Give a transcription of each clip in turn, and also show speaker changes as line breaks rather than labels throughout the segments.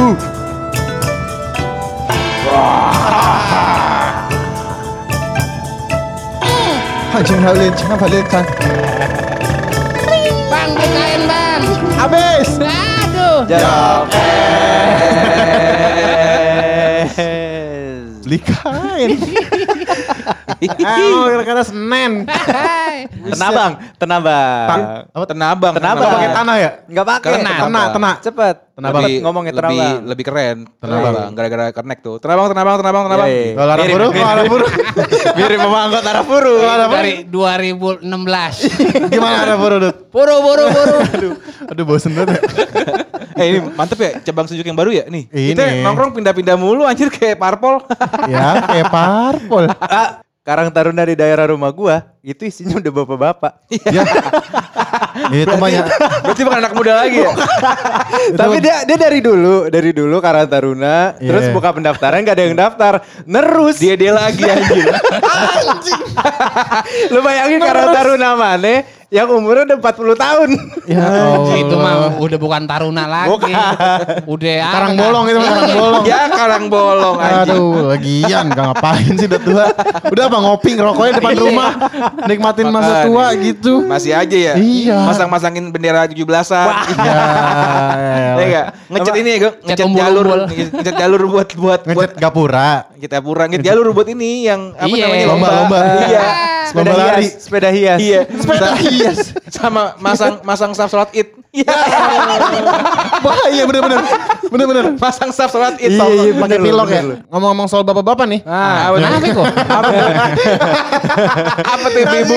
Uh. Hai, jangan halin, jangan balik kan.
Bang BKN bang.
Habis.
Nah. Aduh.
Likain.
Ah, karena Senin.
Hai.
Tenabang, tenabang.
Tang- apa?
Tenabang.
Nggak pakai tanah ya?
Enggak pakai.
Tenang, tenang, tenang.
Cepet.
Tenabang.
Cepet ngomongnya
lebih,
tenabang.
lebih keren.
Tenabang.
Gara-gara connect tuh. Tenabang, tenabang, tenabang, tenabang.
Iya, iya.
Kalau arah
Mirip,
buruh,
mirip.
kalau arah buruh.
Mirip sama angkot arah puru.
Dari 2016.
Gimana arah buruh, Dut?
Buru buru buru.
Aduh, bosen banget ya.
Eh ini mantep ya, cabang sejuk yang baru ya nih.
Ini.
Kita nongkrong pindah-pindah mulu anjir kayak parpol.
Ya, kayak parpol.
Ah, Karang Taruna di daerah rumah gua itu isinya udah bapak-bapak.
Ya. Itu banyak.
Berarti bukan anak muda lagi ya.
Tapi dia dia dari dulu, dari dulu Karang Taruna,
Iya.
terus buka pendaftaran gak ada yang daftar. Nerus.
Dia Iya, dia lagi anjir.
Lu bayangin Karang Taruna mana yang umurnya udah 40 tahun.
Ya, Allah.
itu mah udah Oh. bukan taruna lagi. Udah apa,
Karang
Kak?
bolong itu mah karang bolong.
ya karang bolong anjir.
Aduh, lagian gak ngapain sih udah tua. Udah apa ngopi ngerokoknya depan rumah. Nikmatin masa
Makan.
tua gitu.
Masih aja ya.
Iya.
Masang-masangin bendera 17-an.
Ya,
Iya enggak? Ngecat ini ya, Gong. ngecat
umbul-umbul.
jalur, ngecat jalur buat buat buat
ngecat gapura.
kita pura ngecat jalur buat ini yang apa
Iya.
namanya
Lomba-lomba.
Iya.
Sepeda
Lomba lari.
hias, sepeda hias.
Iya. Sama- Sama masang masang saf salat Id. Iya.
Bahaya iya, bener-bener. Bener-bener.
Masang saf salat Id.
Iya, iya, pakai
bener lu,
pilok ya.
bener lu.
Ngomong-ngomong soal bapak-bapak nih.
Ah, apa tuh?
Kenapa kok?
apa tuh ibu?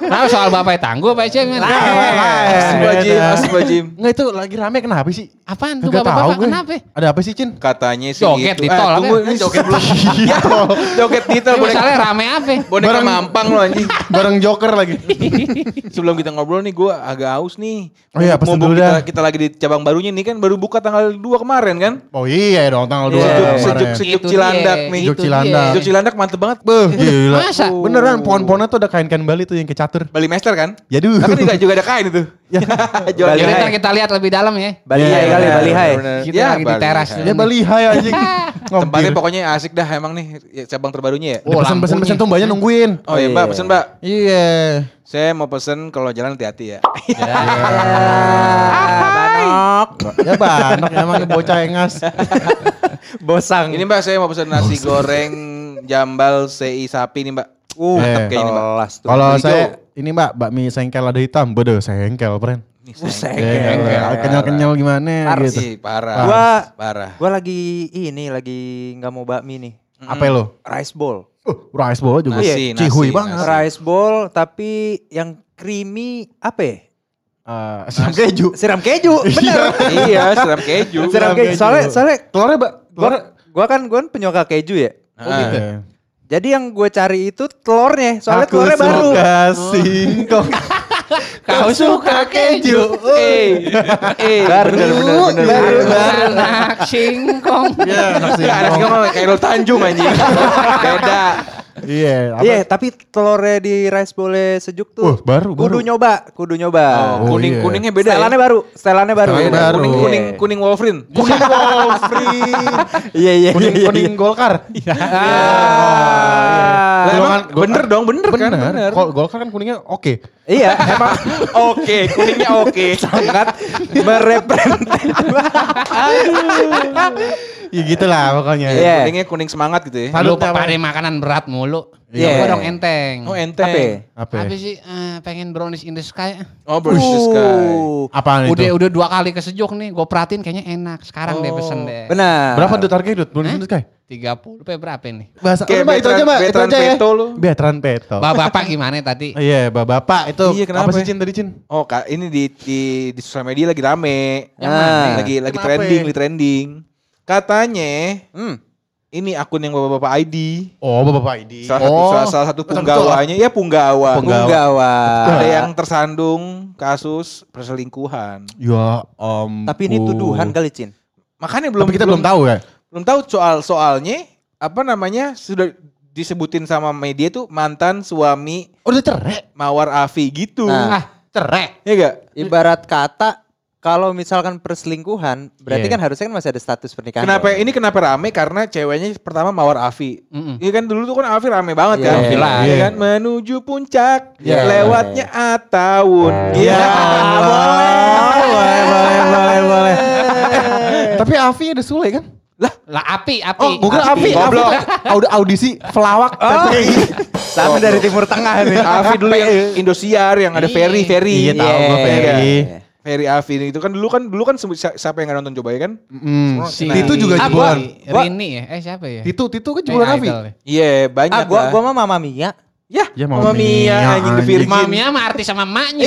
Kenapa soal bapak ya tangguh Pak Cem?
Sebuah
Iya,
gym, sebuah gym.
Enggak itu lagi rame kenapa sih?
Apaan tuh
Enggak tahu
bapak-bapak
gue.
kenapa?
Ada apa sih, Cin?
Katanya sih
Joget di
gitu. Eh,
tol,
tunggu,
apa?
ini joget belum. Ya, joget di tol.
Ini
boneka-
Misalnya rame apa?
Boneka
Bareng-
mampang lo anjing.
Bareng Joker lagi.
Sebelum kita ngobrol nih gue agak haus nih.
Oh iya,
Mumpung
pesen dulu
kita,
dah.
kita lagi di cabang barunya nih kan baru buka tanggal 2 kemarin kan.
Oh iya dong tanggal 2
Iya.
Sejuk,
kemarin.
sejuk, sejuk
Itu
Cilandak
dia,
nih.
Sejuk
itu
Cilandak.
dia.
Sejuk Cilandak mantep banget.
Beuh, gila.
Masa?
Beneran pohon-pohonnya tuh ada kain-kain Bali tuh yang Ya, kecatur.
Bali Master kan?
Yaduh.
Kan juga, juga ada kain itu. Ya. Jual
Bali
Jadi
Iya.
Hai.
ntar kita lihat lebih dalam ya.
Bali hai
Iya,
kali,
benar,
Bali hai.
benar.
Kita lagi di
Bali.
teras.
Ya Bali hai anjing.
Tempatnya
Ngompir.
pokoknya asik dah emang nih ya, cabang terbarunya ya.
Oh,
Pesen-pesen-pesen
lampunya.
tuh mbaknya nungguin.
Oh iya mbak, pesen mbak.
Iya.
Saya mau pesen kalau jalan hati-hati ya.
Ya banyak emang ini bocah engas.
Bosang.
Ini mbak saya mau pesen nasi goreng jambal CI sapi nih mbak. Uh, mantep
Eh,
kayaknya nih mbak.
Kelas tuh.
Kalau
Here we
saya ini Mbak bakmi sengkel ada hitam. Bodoh, sengkel, friend.
Nih,
Iya, Sengkel. eh, Kenyal-kenyal gimana
Harus
gitu.
Ih, parah.
Gua
parah.
gua lagi ini lagi nggak mau bakmi nih.
Apa lo?
Rice bowl.
Uh, rice bowl juga.
Nasi, nasi,
Cihuy
nasi.
banget.
Rice bowl tapi yang creamy apa ya?
Eh, siram keju.
Siram keju, bener.
iya, seram keju.
Siram keju. Soalnya soalnya
Telurnya, Mbak.
gua, gua kan gua kan penyuka keju ya.
Oh gitu. ya.
Jadi yang gue cari itu telurnya, soalnya
Aku
telurnya baru.
suka singkong.
Kau suka keju.
Eh, eh,
Baru, bener, bener, bener.
Baru
Baru.
anak singkong.
Iya, enak
Nggak, ada sih
singkong.
ngomong kayak Irul Tanjung anjing. Beda.
Iya, apa?
Iya, tapi telurnya di rice bowl sejuk tuh.
Wah, baru,
Kudu
baru.
nyoba, kudu nyoba.
Oh,
Oh,
iya.
kuning kuningnya
Beda
beda. ya?
Setelannya baru, setelannya baru.
Setelannya
Beda,
baru.
Kuning
Iya.
kuning kuning Wolverine.
Kuning Wolfrin.
Iya, iya, iya.
Kuning kuning Golkar. Iya. Golongan-
Lah, emang
golongan-
bener dong, bener, kan? Bener.
Kol- Golkar kan kuningnya oke.
Iya, emang
Oke, kuningnya oke.
sangat merepresentasi.
Ya gitu lah pokoknya.
Iya.
Kuningnya kuning semangat gitu ya.
Salut
Lu
apa?
pada makanan berat mulu.
Iya.
Gua dong enteng.
Oh,
Apa? ya?
enteng.
Apa?
Apa sih eh, pengen brownies in the sky?
Oh, British Sky.
Uh,
Apaan
Udah
itu?
udah dua kali kesejuk nih. Gue perhatiin kayaknya enak. Sekarang deh pesen deh.
Benar.
Berapa tuh targetnya Dut? Belum disebut Kai?
30 apa ya, berapa nih?
Bahasa
Kayak
Udah, Mbak, itu aja,
veteran-
Mbak. Itu
veteran
aja ya.
peto lu.
Veteran peto.
Bapak-bapak gimana tadi?
Oh. Iya, Mbak Bapak itu
Iya,
apa
kenapa
sih
ya?
Cin tadi Cin?
Oh, Kak, ini di di, di sosial media lagi rame. Nah,
Yang mana?
Lagi lagi
Kenapa
trending,
ya?
lagi trending. Katanya
Hmm.
ini akun yang bapak-bapak ID.
Oh, Bapak Bapak ID.
Salah satu
oh.
salah, salah satu
Betul,
punggawanya ya punggawa.
Punggawa.
Punggawa.
Ada yang tersandung kasus perselingkuhan.
Ya ampun.
Tapi ini tuduhan kali, Cin.
Makanya kan? belum
Tapi kita belum tahu ya.
belum tahu soal soalnya apa namanya sudah disebutin sama media tuh mantan suami
Oh, Udah cerai.
Mawar Afi gitu.
Nah.
Ah, cerek.
Iya gak?
Ibarat kata Kalau misalkan perselingkuhan, berarti
Iya.
kan harusnya kan masih ada status pernikahan.
Kenapa
dong.
ini kenapa rame? Karena ceweknya pertama mawar Afi.
Mm-mm.
Iya kan dulu tuh kan Afi rame banget
Iya,
kan.
Afi lah.
Iya
Iya.
kan menuju puncak
Iya.
lewatnya Ataun. Iya.
Ah, boleh, boleh, boleh, boleh. eh.
Eh. Tapi Avi ada Sule kan?
Lah api, api.
Oh, gue kira Avi. Avi
Goblok.
Aud- audisi pelawak TPI.
Sama dari Timur Tengah nih.
Afi dulu yang Indosiar yang ada
Iya.
Ferry Ferry.
Iya, tahu gue Ferry.
iya.
Ferry Afi ini itu kan dulu kan dulu kan semua- si- siapa yang nggak nonton coba ya kan?
Mm.
Si-
Titu juga
Ah,
jualan.
gua- Rini ya? Eh siapa ya?
Titu, Titu kan jualan Avi.
Iya banyak
Ah, gua
lah.
gua mah Mama Mia.
Ya,
Ya,
Mamma
Mamma
Mia,
Mia,
anjing The
anjing.
Virgin.
Maminya sama artis sama maknya.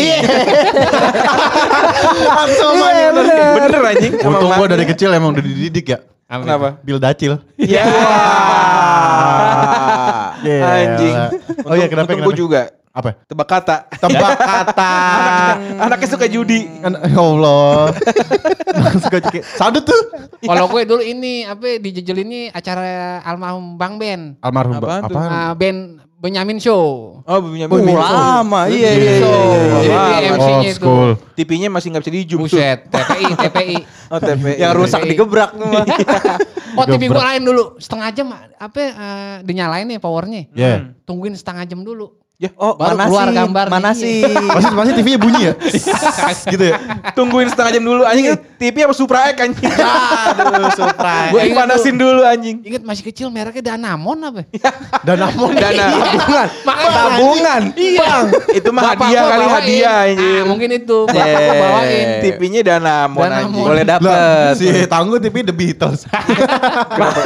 Iya, bener. Bener anjing.
Untung
Mamma
gue dari
Mia.
kecil emang udah dididik ya.
Kenapa?
Bil Dacil.
Ya.
Gila.
Iya. Anjing.
Oh iya, kenapa,
Untung gua
kenapa?
juga
Apa?
tebak kata. Ah,
Tebak kata.
Anaknya suka judi.
Kan, ya Allah. Suka cekik. Sadut tuh.
Kalau gue dulu ini apa dijejelinnya acara almarhum Bang Ben.
Almarhum Bang.
Apaan tuh?
Apaan?
Ah, ben Benyamin Show.
Oh, punya
Oh,
Mia.
Lama, iya iya. iya,
Oh,
iya.
Jadi dia
Lama.
MC-nya
Old
itu.
school.
TV-nya masih nggak bisa dijum.
Buset, TPI, TPI.
Oh, TV.
Yang rusak
Iya.
digebrak tuh. mah.
Oh TV gue
Gebrak.
lain dulu, setengah jam apa eh, dinyalain nih powernya.
Iya.
Tungguin setengah jam dulu.
Ya,
Oh,
Baru
mana
keluar
sih?
gambar
Mana
nih.
sih?
Masih masih TV-nya bunyi ya? gitu ya.
tungguin setengah jam dulu
Iya.
anjing. TV apa Supra X anjing.
Aduh, surprise.
iya,
Gue panasin dulu anjing.
Ingat masih kecil mereknya Danamon apa?
Dan Amon
Iya.
Dana.
Tabungan.
Tabungan.
Iya.
Itu mah
Bapak
hadiah
gua
kali
bawain.
hadiah
Ah,
anjing. Eh, Iya.
mungkin itu. Bapak gua
Yeah.
bawain.
TV-nya Danamon
Danamon.
anjing.
Boleh
Lah,
dapet.
si Tangguh TV The Beatles.
Kenapa?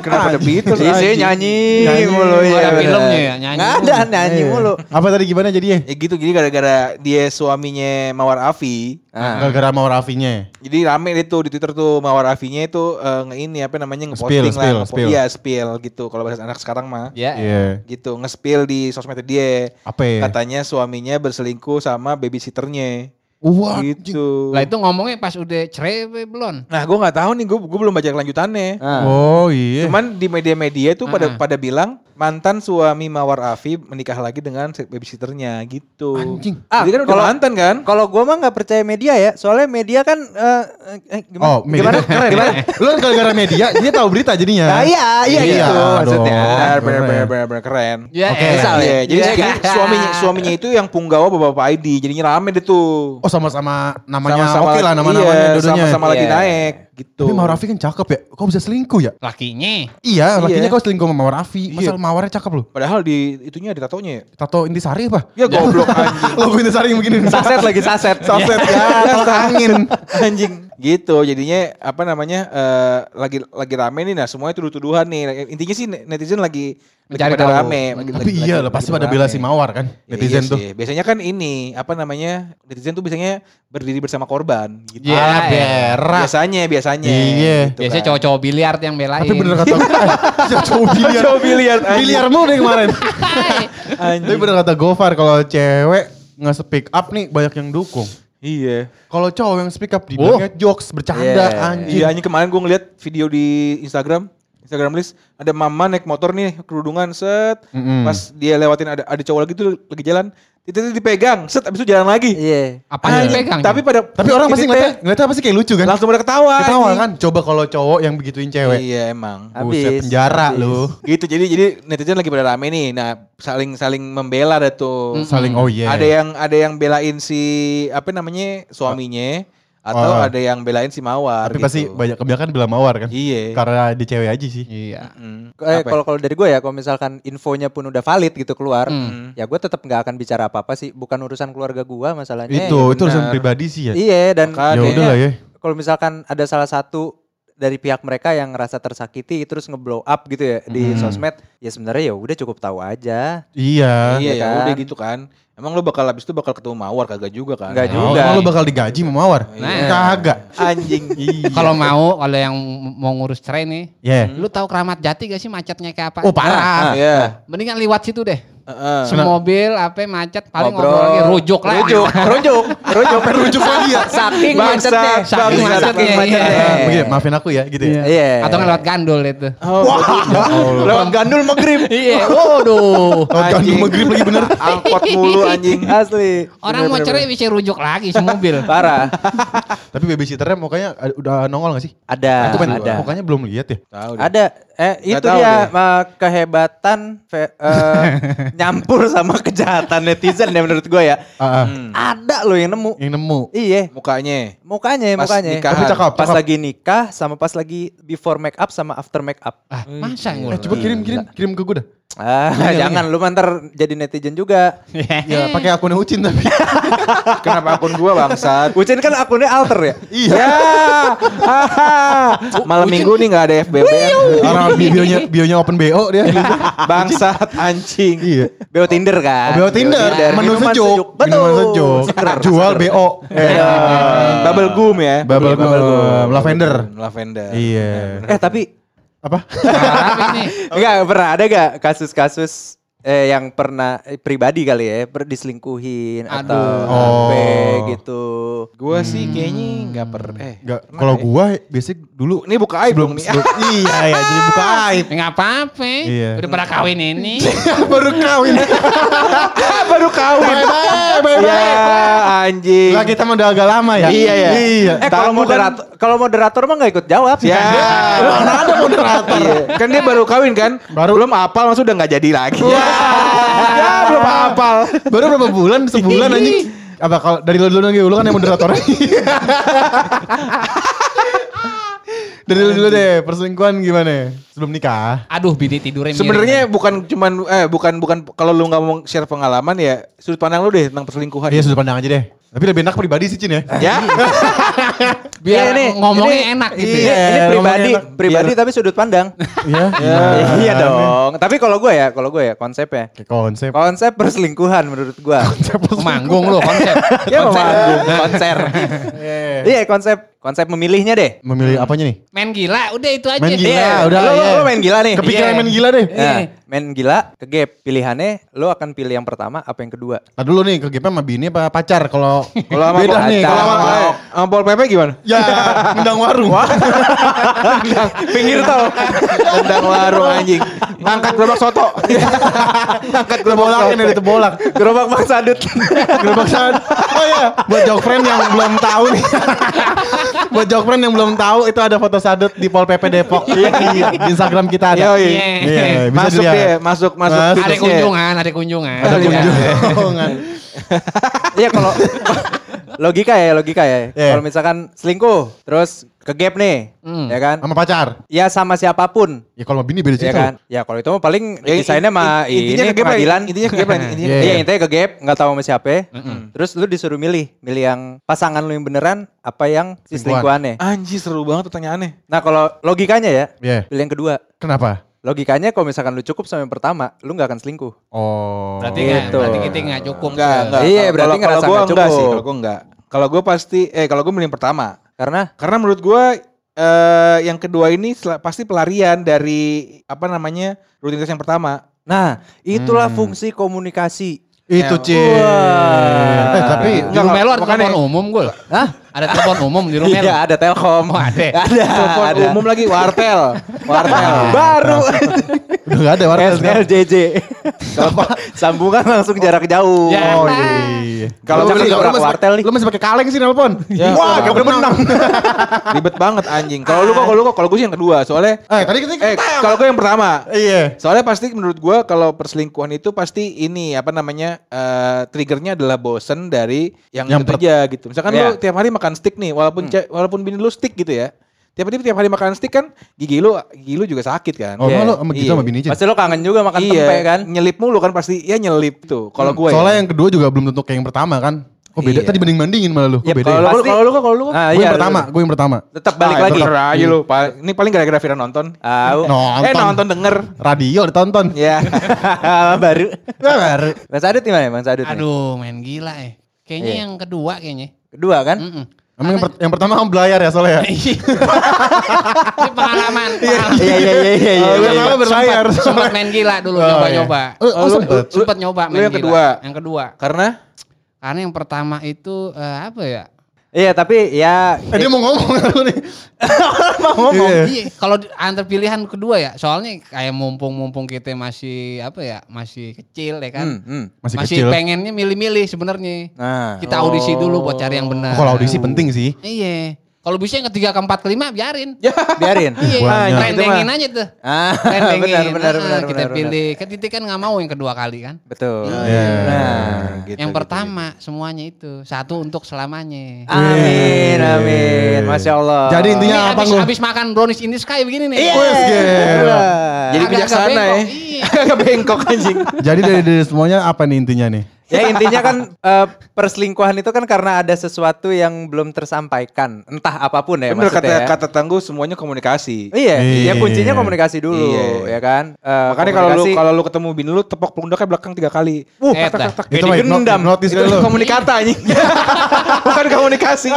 Kenapa The Beatles?
Iya,
Di sini
anjing?
nyanyi,
Nyanyi.
mulu ya.
Ada
bener.
filmnya ya, nyanyi
Nggak
mulu. Iya.
ada nyanyi mulu.
Iya.
Nah,
Apa tadi gimana jadinya?
Ya gitu gini gara-gara dia suaminya Mawar Afi.
Ah.
Gara-gara mau Rafinya.
Jadi rame deh tuh di Twitter tuh Mawar Afinya itu eh, nge ini apa namanya
Spill,
ngeposting
spill,
lah, ngepo-
spill.
iya spill gitu kalau bahasa anak sekarang mah
Ya.
Iya.
gitu nge-spill di sosmed dia.
Apa ya?
Katanya suaminya berselingkuh sama babysitternya
Wah,
gitu.
Lah itu ngomongnya pas udah cerai apa belum?
Nah, gue nggak tahu nih, gue belum baca kelanjutannya.
Ah.
Oh iya.
Cuman di media-media tuh pada
Ah.
pada bilang mantan suami Mawar Afi menikah lagi dengan si- babysitternya gitu.
Anjing.
Ah, Jadi kan udah
kalau-
mantan kan?
Kalau gua mah nggak percaya media ya, soalnya media kan eh, eh,
oh,
gimana?
media.
gimana? Keren, gimana?
Iya.
Lu kan gara-gara media, jadi tahu berita jadinya.
Nah, iya,
Ah,
iya,
Iya,
gitu
dong.
maksudnya.
Benar, benar,
keren.
benar, benar, benar, keren.
Ya,
Oke.
elah.
Misal
Iya, jadi
Iya.
jadi suaminya suaminya itu yang punggawa bapak-bapak ID, jadinya rame deh tuh.
Oh sama-sama namanya oke lah
lagi-
nama-namanya
iya,
dodonya.
Sama-sama lagi
Iya.
naik gitu.
Tapi Mawar Raffi kan cakep ya. Kok bisa selingkuh ya?
Lakinya.
Iya, lakinya
Iya.
kau selingkuh sama Mawar Raffi. Masa
Iya.
Mawarnya cakep loh.
Padahal di itunya ada tatonya ya.
Tato Intisari apa?
Ya goblok anjing.
Logo Intisari yang begini.
Saset lagi saset.
Iya.
Saset ya, tolak angin.
anjing gitu jadinya apa namanya eh, lagi lagi rame nih nah semuanya tuduh-tuduhan nih intinya sih netizen lagi
Mencari
lagi pada
tahu.
rame lagi-
Tapi
lagi-
iya
lagi-
lah pasti
lagi
pada
rame.
bela si Mawar kan
Iya
netizen
sih.
tuh.
biasanya kan ini apa namanya netizen tuh biasanya berdiri bersama korban gitu
Iya,
Ah,
iya.
berak.
biasanya biasanya
Iya.
gitu
Biasanya
kan.
cowok-cowok biliar yang belain.
Tapi bener kata eh, cowok biliar.
Cowok biliar, anjing.
Biliar mulu deh kemarin. Tapi
Anjing.
bener kata Gofar kalau cewek nge speak up nih banyak yang dukung.
iya
Kalau cowok yang speak up dibilangnya jokes, bercanda,
Iya.
anjing.
Oh. iya anjing kemarin gue ngeliat video di Instagram Instagram list ada mama naik motor nih kerudungan set
Mm-mm.
pas dia lewatin ada ada cowok lagi tuh lagi jalan itu tuh dipegang set abis itu jalan lagi
Iya.
Apa yang
Anjing,
Ah, dipegang? ya?
Tapi pada
Tapi orang
ini
pasti
teh
ngeliatnya, ngeliatnya pasti kayak lucu kan?
langsung pada ketawa.
Ketawa
anjing.
kan? Coba kalau cowok yang begituin cewek.
Iya emang.
Buset
Habis,
penjara
habis.
lu.
Gitu jadi jadi netizen lagi pada rame nih. Nah, saling saling membela dah tuh.
Saling oh iya.
Ada yang ada yang belain si apa namanya suaminya atau
Oh.
ada yang belain si Mawar
Tapi pasti
gitu.
banyak kebanyakan bilang mawar kan?
Iya.
Karena di cewek aja sih.
Iya.
Eh,
Mm. Apa ya?
kalau kalau dari gue ya, kalau misalkan infonya pun udah valid gitu keluar,
Mm.
Hmm.
ya gue tetap nggak akan bicara apa-apa sih. Bukan urusan keluarga gua masalahnya. ya.
itu,
iya
itu urusan
benar.
pribadi sih ya.
Iya dan
Makanya.
Ya udah lah ya.
kalau misalkan ada salah satu dari pihak mereka yang ngerasa tersakiti terus ngeblow up gitu ya di
Hmm.
sosmed, ya sebenarnya ya udah cukup tahu aja.
Iya.
iya ya
kan?
udah gitu kan. Emang lu bakal habis itu bakal ketemu Mawar kagak juga kan?
Nggak
Oh,
juga.
emang lu bakal digaji sama mawar?
Nah.
Kagak.
Anjing.
Kalau mau, kalau yang mau ngurus cerai nih,
Iya.
lu tahu keramat jati gak sih macetnya kayak apa?
Oh parah.
Iya.
Mendingan lewat situ deh.
Heeh.
Semobil apa macet paling ngobrol,
Ngobrol.
lagi rujuk lah.
Rujuk, rujuk, rujuk.
rujuk lagi ya?
Saking
Bangsat,
macetnya.
saking macetnya, iya.
Eh, begini, maafin aku ya gitu ya.
Iya.
Atau lewat gandul itu.
Oh,
lewat gandul maghrib.
Iya,
Oh,
waduh.
jangan
Anjing.
maghrib lagi bener.
angkot mulu anjing.
Asli.
Orang mau cerai bisa rujuk lagi semobil.
Parah.
Tapi babysitternya mukanya ad- udah nongol gak sih?
Ada,
Aku pengen
ada.
mukanya belum lihat ya.
Tahu deh.
Ada. Eh,
Nggak
itu
tahu
dia
deh.
eh, kehebatan fe- eh, nyampur sama kejahatan netizen ya menurut gue ya.
Ah, ah,
Hmm.
Ada loh yang nemu.
yang nemu.
Iya.
Mm. Mukanya.
Mukanya,
Pas
mukanya.
nikahan.
Tapi cakep,
Pas
cakep.
lagi nikah sama pas lagi before make up sama after make up.
Ah, masa yang
Eh, coba kirim kirim kirim ke gue dah.
Ah, jangan lu mantar jadi netizen juga.
Ya pakai akunnya Ucin tapi.
Kenapa akun gua bangsat?
Ucin kan akunnya alter ya.
iya.
Malam minggu nih nggak ada FBB.
Orang bi- bionya bionya open BO dia.
Bangsat anjing.
iya.
Beo Tinder kan.
BO Oh, Tinder, menu
Minuman
sejuk, minuman sejuk.
Seger,
Jual
seger.
BO. Iya.
Bubble gum ya.
Bubble
Iya,
gum, lavender.
Lavender.
Iya.
Eh tapi
Apa?
ini.
enggak pernah ada gak kasus-kasus eh, yang pernah eh, pribadi kali ya per- diselingkuhin atau
Aduh.
apa
Oh.
gitu.
Gua sih kayaknya nggak pernah. Eh,
Enggak.
pernah
Kalau
ya.
gua biasanya dulu
ini buka aib dong nih.
sebelum- iya ya jadi buka aib.
Ya nggak apa-apa.
Iya.
Udah pada kawin ini.
Baru kawin.
baru kawin.
Bye bye
Iya,
bye
Ya
bye.
anjing.
iya. Lah kita mah udah agak lama ya.
Iya, ya.
Iya.
Eh kalau
Tamu kan-
moderator kalau moderator mah nggak ikut jawab. Iya.
Ya.
Mana ada moderator?
Iya. Kan dia baru kawin kan?
Baru.
Belum apal langsung udah nggak jadi lagi. Ya. ya belum apal.
Baru berapa bulan? Sebulan anjing. Apa kalau dari lu dulu lagi lu kan yang moderatornya. dari lu dulu deh, perselingkuhan gimana? Sebelum nikah.
Aduh, bini tidurnya miring.
Sebenarnya bukan cuman eh bukan bukan kalau lu nggak mau share pengalaman ya sudut pandang lu deh tentang perselingkuhan.
Iya, sudut pandang aja deh. Tapi lebih enak pribadi sih Cin ya.
Ya.
biar
Iya, ini-
ngomongnya
ini-
enak gitu.
Ini,
ya.
ini
Iya,
pribadi,
ngomongnya
pribadi tapi sudut pandang.
Iya.
iya dong. Tapi kalau gue ya, kalau gue ya konsepnya.
Kayak konsep.
Konsep perselingkuhan menurut gue.
ya. Manggung lo konsep.
ya memanggung konser. Iya konsep konsep memilihnya deh.
Memilih apanya nih?
Main gila, udah itu aja.
Main gila,
Iya,
udah.
Lo, lo-
iya.
lo main gila nih.
Kepikiran
Iya.
main gila deh.
Nah, main gila ke gap. Pilihannya lo akan pilih yang pertama apa yang kedua.
Nah dulu nih, ke GP sama bini apa pacar? Kalau
Kalau sama
beda
Pol-
nih.
kalau
Kalau
sama
sama-
eh, sama Pol PP gimana?
ya, mendang warung.
Pinggir tol. Tendang warung anjing. Angkat gerobak soto. Angkat gerobak
Bolak
soto.
ini ada tebolak.
Gerobak Bang Sadut.
Gerobak sahur. Oh iya, buat jok friend yang belum tahu nih. buat jok friend yang belum tahu itu ada foto sadut di Pol PP Depok. Iya, di Instagram kita ada.
Yoi.
Iya.
Iya, bisa
Masuk
dilihat.
dia, masuk masuk.
Masuk.
Ada
Fitnessnya.
kunjungan, ada kunjungan.
Ada
Iya.
kunjungan.
Iya kalau logika ya logika ya.
Iya.
Kalau misalkan selingkuh terus ke gap nih,
Hmm.
ya kan?
Sama pacar.
Ya sama siapapun.
Ya kalau bini beda
Ya
cerita.
kan? Ya kalau itu mah paling
Ya,
desainnya mah
in-
ini
intinya ke gap lah,
pengadilan.
Intinya ke gap lah, intinya.
Iya.
Iya intinya ke gap, nggak tahu sama siapa. Terus lu disuruh milih, milih yang pasangan lu yang beneran, apa yang si
Selingkuhan.
selingkuhannya.
Anjir seru banget pertanyaannya.
Nah kalau logikanya ya,
Iya.
pilih yang kedua.
Kenapa?
Logikanya kalau misalkan lu cukup sama yang pertama, lu nggak akan selingkuh.
Oh.
Berarti nggak,
Gitu.
berarti kita nggak cukup. gitu.
Enggak,
Iya,
enggak. Kalau-
berarti
kalau-
ngerasa
kalau gua
nggak
enggak
cukup.
sih, kalau gua enggak. Kalau gua pasti eh kalau gua milih yang pertama.
Karena
Karena menurut gua eh yang kedua ini sel- pasti pelarian dari apa namanya? rutinitas yang pertama.
nah, itulah fungsi komunikasi.
Itu
Ya.
Cil.
Wah.
Eh, tapi
Di rumah
Nggak,
lo ada
makanya-
telepon umum gue loh.
Hah?
Ada telepon umum di rumah lo.
Iya, ada Telkom.
Oh, ada.
Ada.
Telepon
ada.
umum lagi wartel. Wartel.
Ah. Baru
udah gak ada warna sekarang.
SLJJ. Sambungan langsung jarak jauh.
Ya.
Oh iya.
Kalau
Lu
misalkan
masih-
orang
lu masih
wartel
pakai-
nih.
Lu masih pakai kaleng sih nelpon.
Ya,
Wah,
kalau-
gak boleh menang.
Ribet banget anjing. Kalau lu kok kalau lu kok kalau gue sih yang kedua. Soalnya
Eh, tadi kita
eh kalau gue yang pertama.
Iya.
Soalnya pasti menurut gua kalau perselingkuhan itu pasti ini apa namanya eh, triggernya adalah bosen dari yang,
Yang
itu
per-
aja gitu. Misalkan lu
Iya. Hmm.
tiap hari makan steak nih, walaupun ce- walaupun bini lu steak gitu ya. Tiap hari tiap hari makan steak kan gigi lu gigi lu juga sakit kan.
Oh,
Iya.
emang lu sama gitu
Iya.
sama bini Cil?
Pasti lo kangen juga makan
iya,
tempe kan? Hmm.
nyelip mulu kan pasti ya nyelip tuh. Kalau gua
Soalnya
ya.
yang kedua juga belum tentu kayak yang pertama kan. Kok beda?
Iya.
Tadi banding-bandingin malah lu. Kok
Yap,
beda
kalau
ya?
lu
Pasti-
kalau lu kok, kalau lu kok.
Ah,
gue
iya,
yang pertama,
lu-
gue yang pertama.
Tetap balik
Ah,
lagi. Hmm.
bener aja lu. Pa- Ini paling gara-gara Vira nonton.
Tahu.
Nonton.
Eh nonton denger.
Radio ditonton.
Iya.
Ya.
Baru.
Baru.
Bang Sadut gimana ya Bang Sadut? nih?
Aduh, main gila ya. Kayaknya
Iya.
yang kedua kayaknya.
Kedua kan?
Mm-mm.
Emang yang, per- yang pertama kamu belayar ya soalnya ya?
Ini pengalaman. pengalaman.
Iya iya iya iya.
Oh,
iya,
yang
iya.
pertama berlayar.
Sempat main gila dulu
Oh,
nyoba-nyoba.
iya. Oh, sempet.
Sempat nyoba
lu
main
yang
gila.
kedua?
Yang kedua.
Karena
Karena yang pertama itu eh, apa ya?
Iya tapi ya
Eh, dia mau ngomong lu nih. mau ngomong.
Iya, kalau di- antar pilihan kedua ya, soalnya kayak mumpung-mumpung kita masih apa ya, masih kecil ya kan.
Hmm, hmm.
Masih,
Masih
kecil.
pengennya milih-milih sebenarnya.
Nah.
Kita audisi dulu buat cari yang benar.
Oh, kalau audisi penting sih.
Iya. Kalau bisa yang ketiga, keempat, kelima biarin.
biarin.
Iya,
banyak.
trendingin aja tuh.
Ah,
Trendingin.
benar benar
Ah,
benar
Kita
benar, benar.
pilih. Kan titik kan nggak mau yang kedua kali kan.
Betul.
Iya.
Nah,
gitu,
yang
gitu,
pertama semuanya itu satu untuk selamanya.
Amin amin. Masya Allah.
Jadi
ini
intinya apa
habis,
lu?
habis makan brownies in the sky begini nih. gitu.
Iya.
Wes, gila.
Jadi
Agak-agak
bijaksana ya.
bengkok, iya.
Agak bengkok anjing.
Jadi dari, dari semuanya apa nih intinya nih?
Ya intinya kan eh, perselingkuhan itu kan karena ada sesuatu yang belum tersampaikan, entah apapun ya
Bener kata
maksudnya. ya.
kata tangguh semuanya komunikasi.
Iya,
Iya.
ya kuncinya komunikasi dulu,
Iya.
ya kan. Eh,
Makanya kalau lu
komunikasi-
kalau lu ketemu bini lu tepok pundaknya belakang tiga kali.
Wuh,
Eh,
tak, tak,
dah.
tak,
Itu
kayak
mah
digendam.
hipno- hipnotis
Itu
kali lu.
komunikata anjing.
Bukan komunikasi.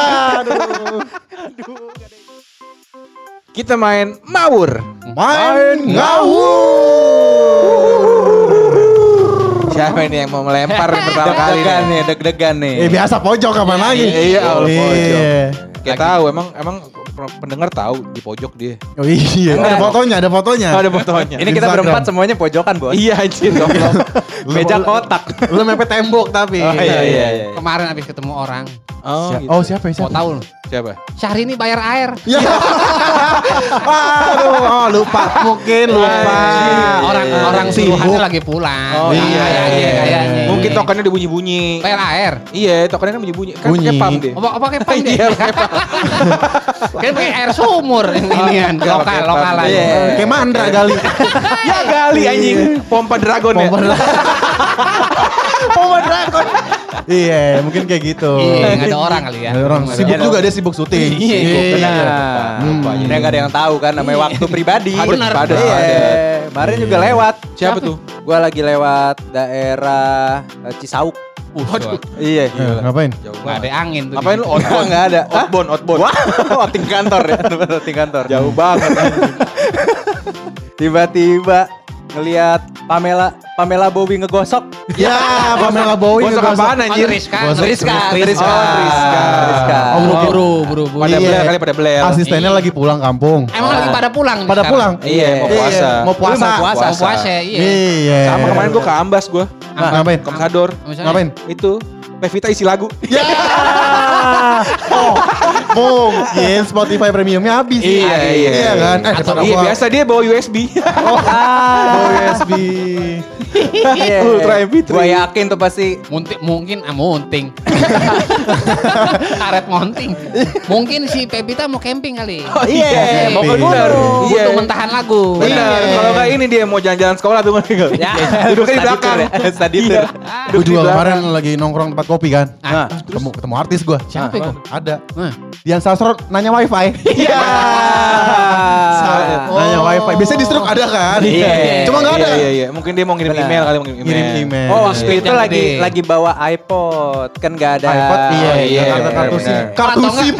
Kita main mawur.
Main ngawur.
Siapa ini yang mau melempar nih pertama kali?
Deg-degan nih, deg-degan nih.
Eh biasa pojok kapan lagi?
Iya, Allah, pojok.
Iya.
Kita tahu emang emang pendengar tahu di pojok dia.
Oh, iya. Ada fotonya, ada fotonya.
Oh, ada fotonya.
Ini kita
Instagram.
berempat semuanya pojokan, Bos.
Iya anjir goblok.
Meja kotak.
Lu mepet tembok tapi.
Oh, iya, iya, iya.
Kemarin habis ketemu orang.
Oh,
Si-
gitu.
Oh, siapa ya?
Mau
Siapa?
tahu lu.
siapa?
Syahrini bayar air.
Ya. Aduh, oh, lupa mungkin lupa.
orang orang suruhannya lagi pulang.
Iya. Oh,
Nah,
iya,
kayaknya-
iya, iya.
kayaknya.
Mungkin tokennya dibunyi-bunyi.
bayar air.
Iya, tokennya kan bunyi-bunyi. Kan
Bunyi.
pakai pam deh.
Apa apa kayak pang Oh, deh.
Iya, pakai pam.
Kan pakai air sumur ini kan
Iya,
lokal
pakai
ya.
pam.
lokalan.
Iya.
Kayak mandra kali.
Ya kali anjing. Pompa dragon ya.
Pompa dragon. Pompa dragon. Iya, mungkin kayak gitu.
Iya, nggak ada orang kali ya.
Ada orang
Nggak ada
sibuk
orang.
juga dia sibuk syuting.
Iya,
Benar.
Hmm.
Udah gak ada yang tahu kan namanya waktu pribadi.
Padat,
Benar.
padat,
Iya.
padat.
Kemarin juga lewat.
Siapa tuh?
Gua lagi lewat daerah eh, Cisauk.
Uh, waduh.
Iya.
Iya, Ngapain?
Jauh
Nggak ada
banget.
angin tuh. Kan
Ngapain
di-
lu outbound?
Nggak ada. Hah?
Outbound, outbound.
Wah, outing kantor ya, teman outing kantor.
Jauh banget. anjing.
Tiba-tiba ngelihat Pamela Pamela Bowie ngegosok.
Ya, Pamela Bowie.
Gosok
ngegosok.
apaan anjir?
Oh, Rizka.
Gosok.
Rizka,
Rizka.
Rizka,
Oh, Rizka.
Rizka.
Oh,
Buru,
mungkin
buru, buru, buru.
Pada
Iya.
blel kali pada blel.
Asistennya lagi pulang kampung.
Emang lagi pada pulang nih
Pada
sekarang?
pulang.
Iya, mau
Iya.
puasa.
Mau puasa.
Lu mau puasa.
Mau puasa iya.
Iya.
Sama kemarin gua ke Ambas gua.
Ngapain?
Komsador.
Misalnya-
Ngapain?
Itu Pevita isi lagu.
Ya. Oh, mungkin Spotify premiumnya habis.
Iya, iya.
Iya kan? Eh,
Atau
daripada
iya
gua-
biasa dia bawa USB.
Oh, USB.
Iya.
Ultra
Gitu.
MP3.
Gua yakin tuh pasti
Munti, mungkin ah, munting. Karet monting. Mungkin si Pepita mau camping kali.
Oh, iya,
mau
ke
Butuh
Iya.
mentahan lagu.
Benar.
Iya.
Kalau nggak ini dia mau jalan-jalan sekolah tuh kan.
Ya.
Duduknya
Study
di belakang.
tour ya, study
Iya.
tour.
Ah,
Gue
Duduk di
juga
belakang.
kemarin lagi nongkrong tempat kopi kan.
Ah,
Ketemu, ketemu artis gue.
Siapa itu?
Ada.
Nah.
Dian Sastro nanya wifi.
Iya.
Sa- Nanya wifi. Biasanya di stroke ada kan?
Iya.
Cuma nggak ada.
Iya, iya, iya. Mungkin dia mau ngirim
Benar.
email kali, mau ngirim email.
Ngirim email.
Oh, waktu itu
Yang
lagi
gede.
lagi bawa iPod. Kan gak ada.
iPod iya,
Oh, iya,
kartu-
benar,
kartu sim.
benar.
Kartu
Atau enggak-
sim.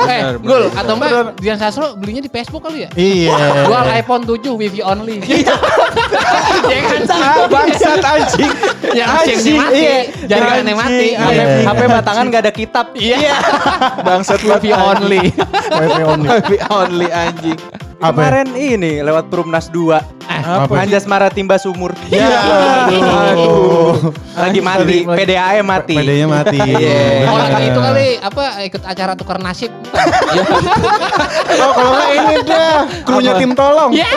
Eh,
Benar,
Gul,
benar,
atau Mbak Dian Sastro belinya di Facebook kali ya?
Iya.
Jual iPhone 7 wifi only. Iya kan?
Ah, bangsat anjing.
Ya mesinnya mati,
Iya.
jaringannya mati.
HP,
Iya.
HP batangan gak ada kitab. Iya.
Bangsat lu
Wifi only.
Wifi only.
Tapi only anjing.
Apa? ya? Eh,
Kemarin ini lewat Perumnas 2.
Apa?
Anjas Maratimba sumur.
Ya.
Iya.
Aduh.
Lagi mati,
Lagi-
PDAM mati.
Pedenya mati.
Iya.
Orang itu gitu kali apa ikut acara tukar nasib.
Oh, kalau nggak ini dia krunya tim tolong.
Ya.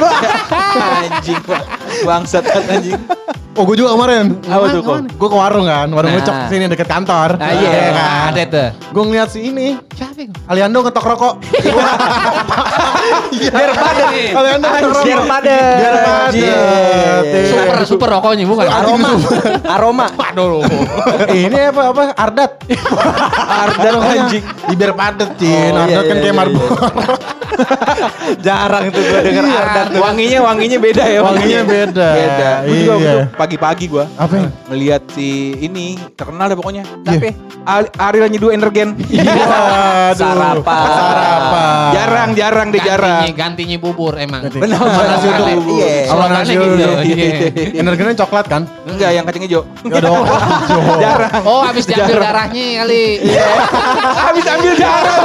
Anjing, Pak. bangsat anjing.
Oh, gue juga kemarin.
Apa tuh, Kol?
Gue ke warung kan, warung
Nah.
ngecek sini deket kantor.
Nah, iya.
kan.
Ada tuh.
Gue ngeliat si ini,
Siapa? Vick?
Aliando ngetok rokok.
Biar padat.
Aliando ngetok rokok.
Iya. Biar padat.
Biar padat.
Iya.
Super, super rokoknya bukan.
Aroma. Aroma.
Aduh.
Eh, Ini apa apa Ardat. Ardat anjing. Di biar padat, Cin.
Oh, iya,
Ardat kan
iya,
kayak
iya,
marbot.
Jarang tuh gue denger
Iya.
Ardat tuh.
Wanginya wanginya beda
iya.
ya.
Wanginya beda.
Beda. Gua
Iya.
juga waktu itu pagi-pagi gua
Apa? ya?
melihat si ini terkenal deh pokoknya.
Tapi
Al- Ariel nyeduh energen.
Iya. aduh.
Sarapan.
Sarapan.
jarang jarang deh
Gantinya,
jarang.
gantinya bubur emang.
Ganti.
benar
Sama
nasi
nasi
uduk.
uduk.
Iya.
Sama nasi
Slogannya gitu.
uduk.
Iya.
Energinya coklat kan?
Enggak yang kacang hijau.
Gak ada hijau.
jarang.
Oh, habis diambil darahnya kali.
Habis ambil darah.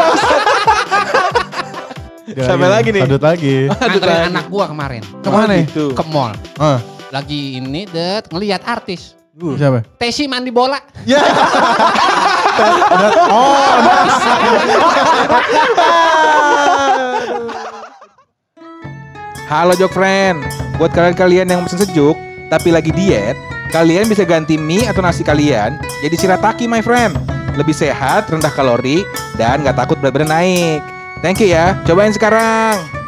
Sampai lagi nih.
Adut Iya, lagi.
Nganterin anak gua kemarin.
Kemana ya?
Gitu.
Ke mall.
Ah,
Lagi ini det ngelihat artis.
siapa?
Tesi mandi bola.
Ya. Oh,
Halo Jok Friend. Buat kalian-kalian yang pesen sejuk tapi lagi diet, kalian bisa ganti mie atau nasi kalian jadi shirataki my friend. Lebih sehat, rendah kalori, dan nggak takut berat badan naik. Thank you ya. Cobain sekarang.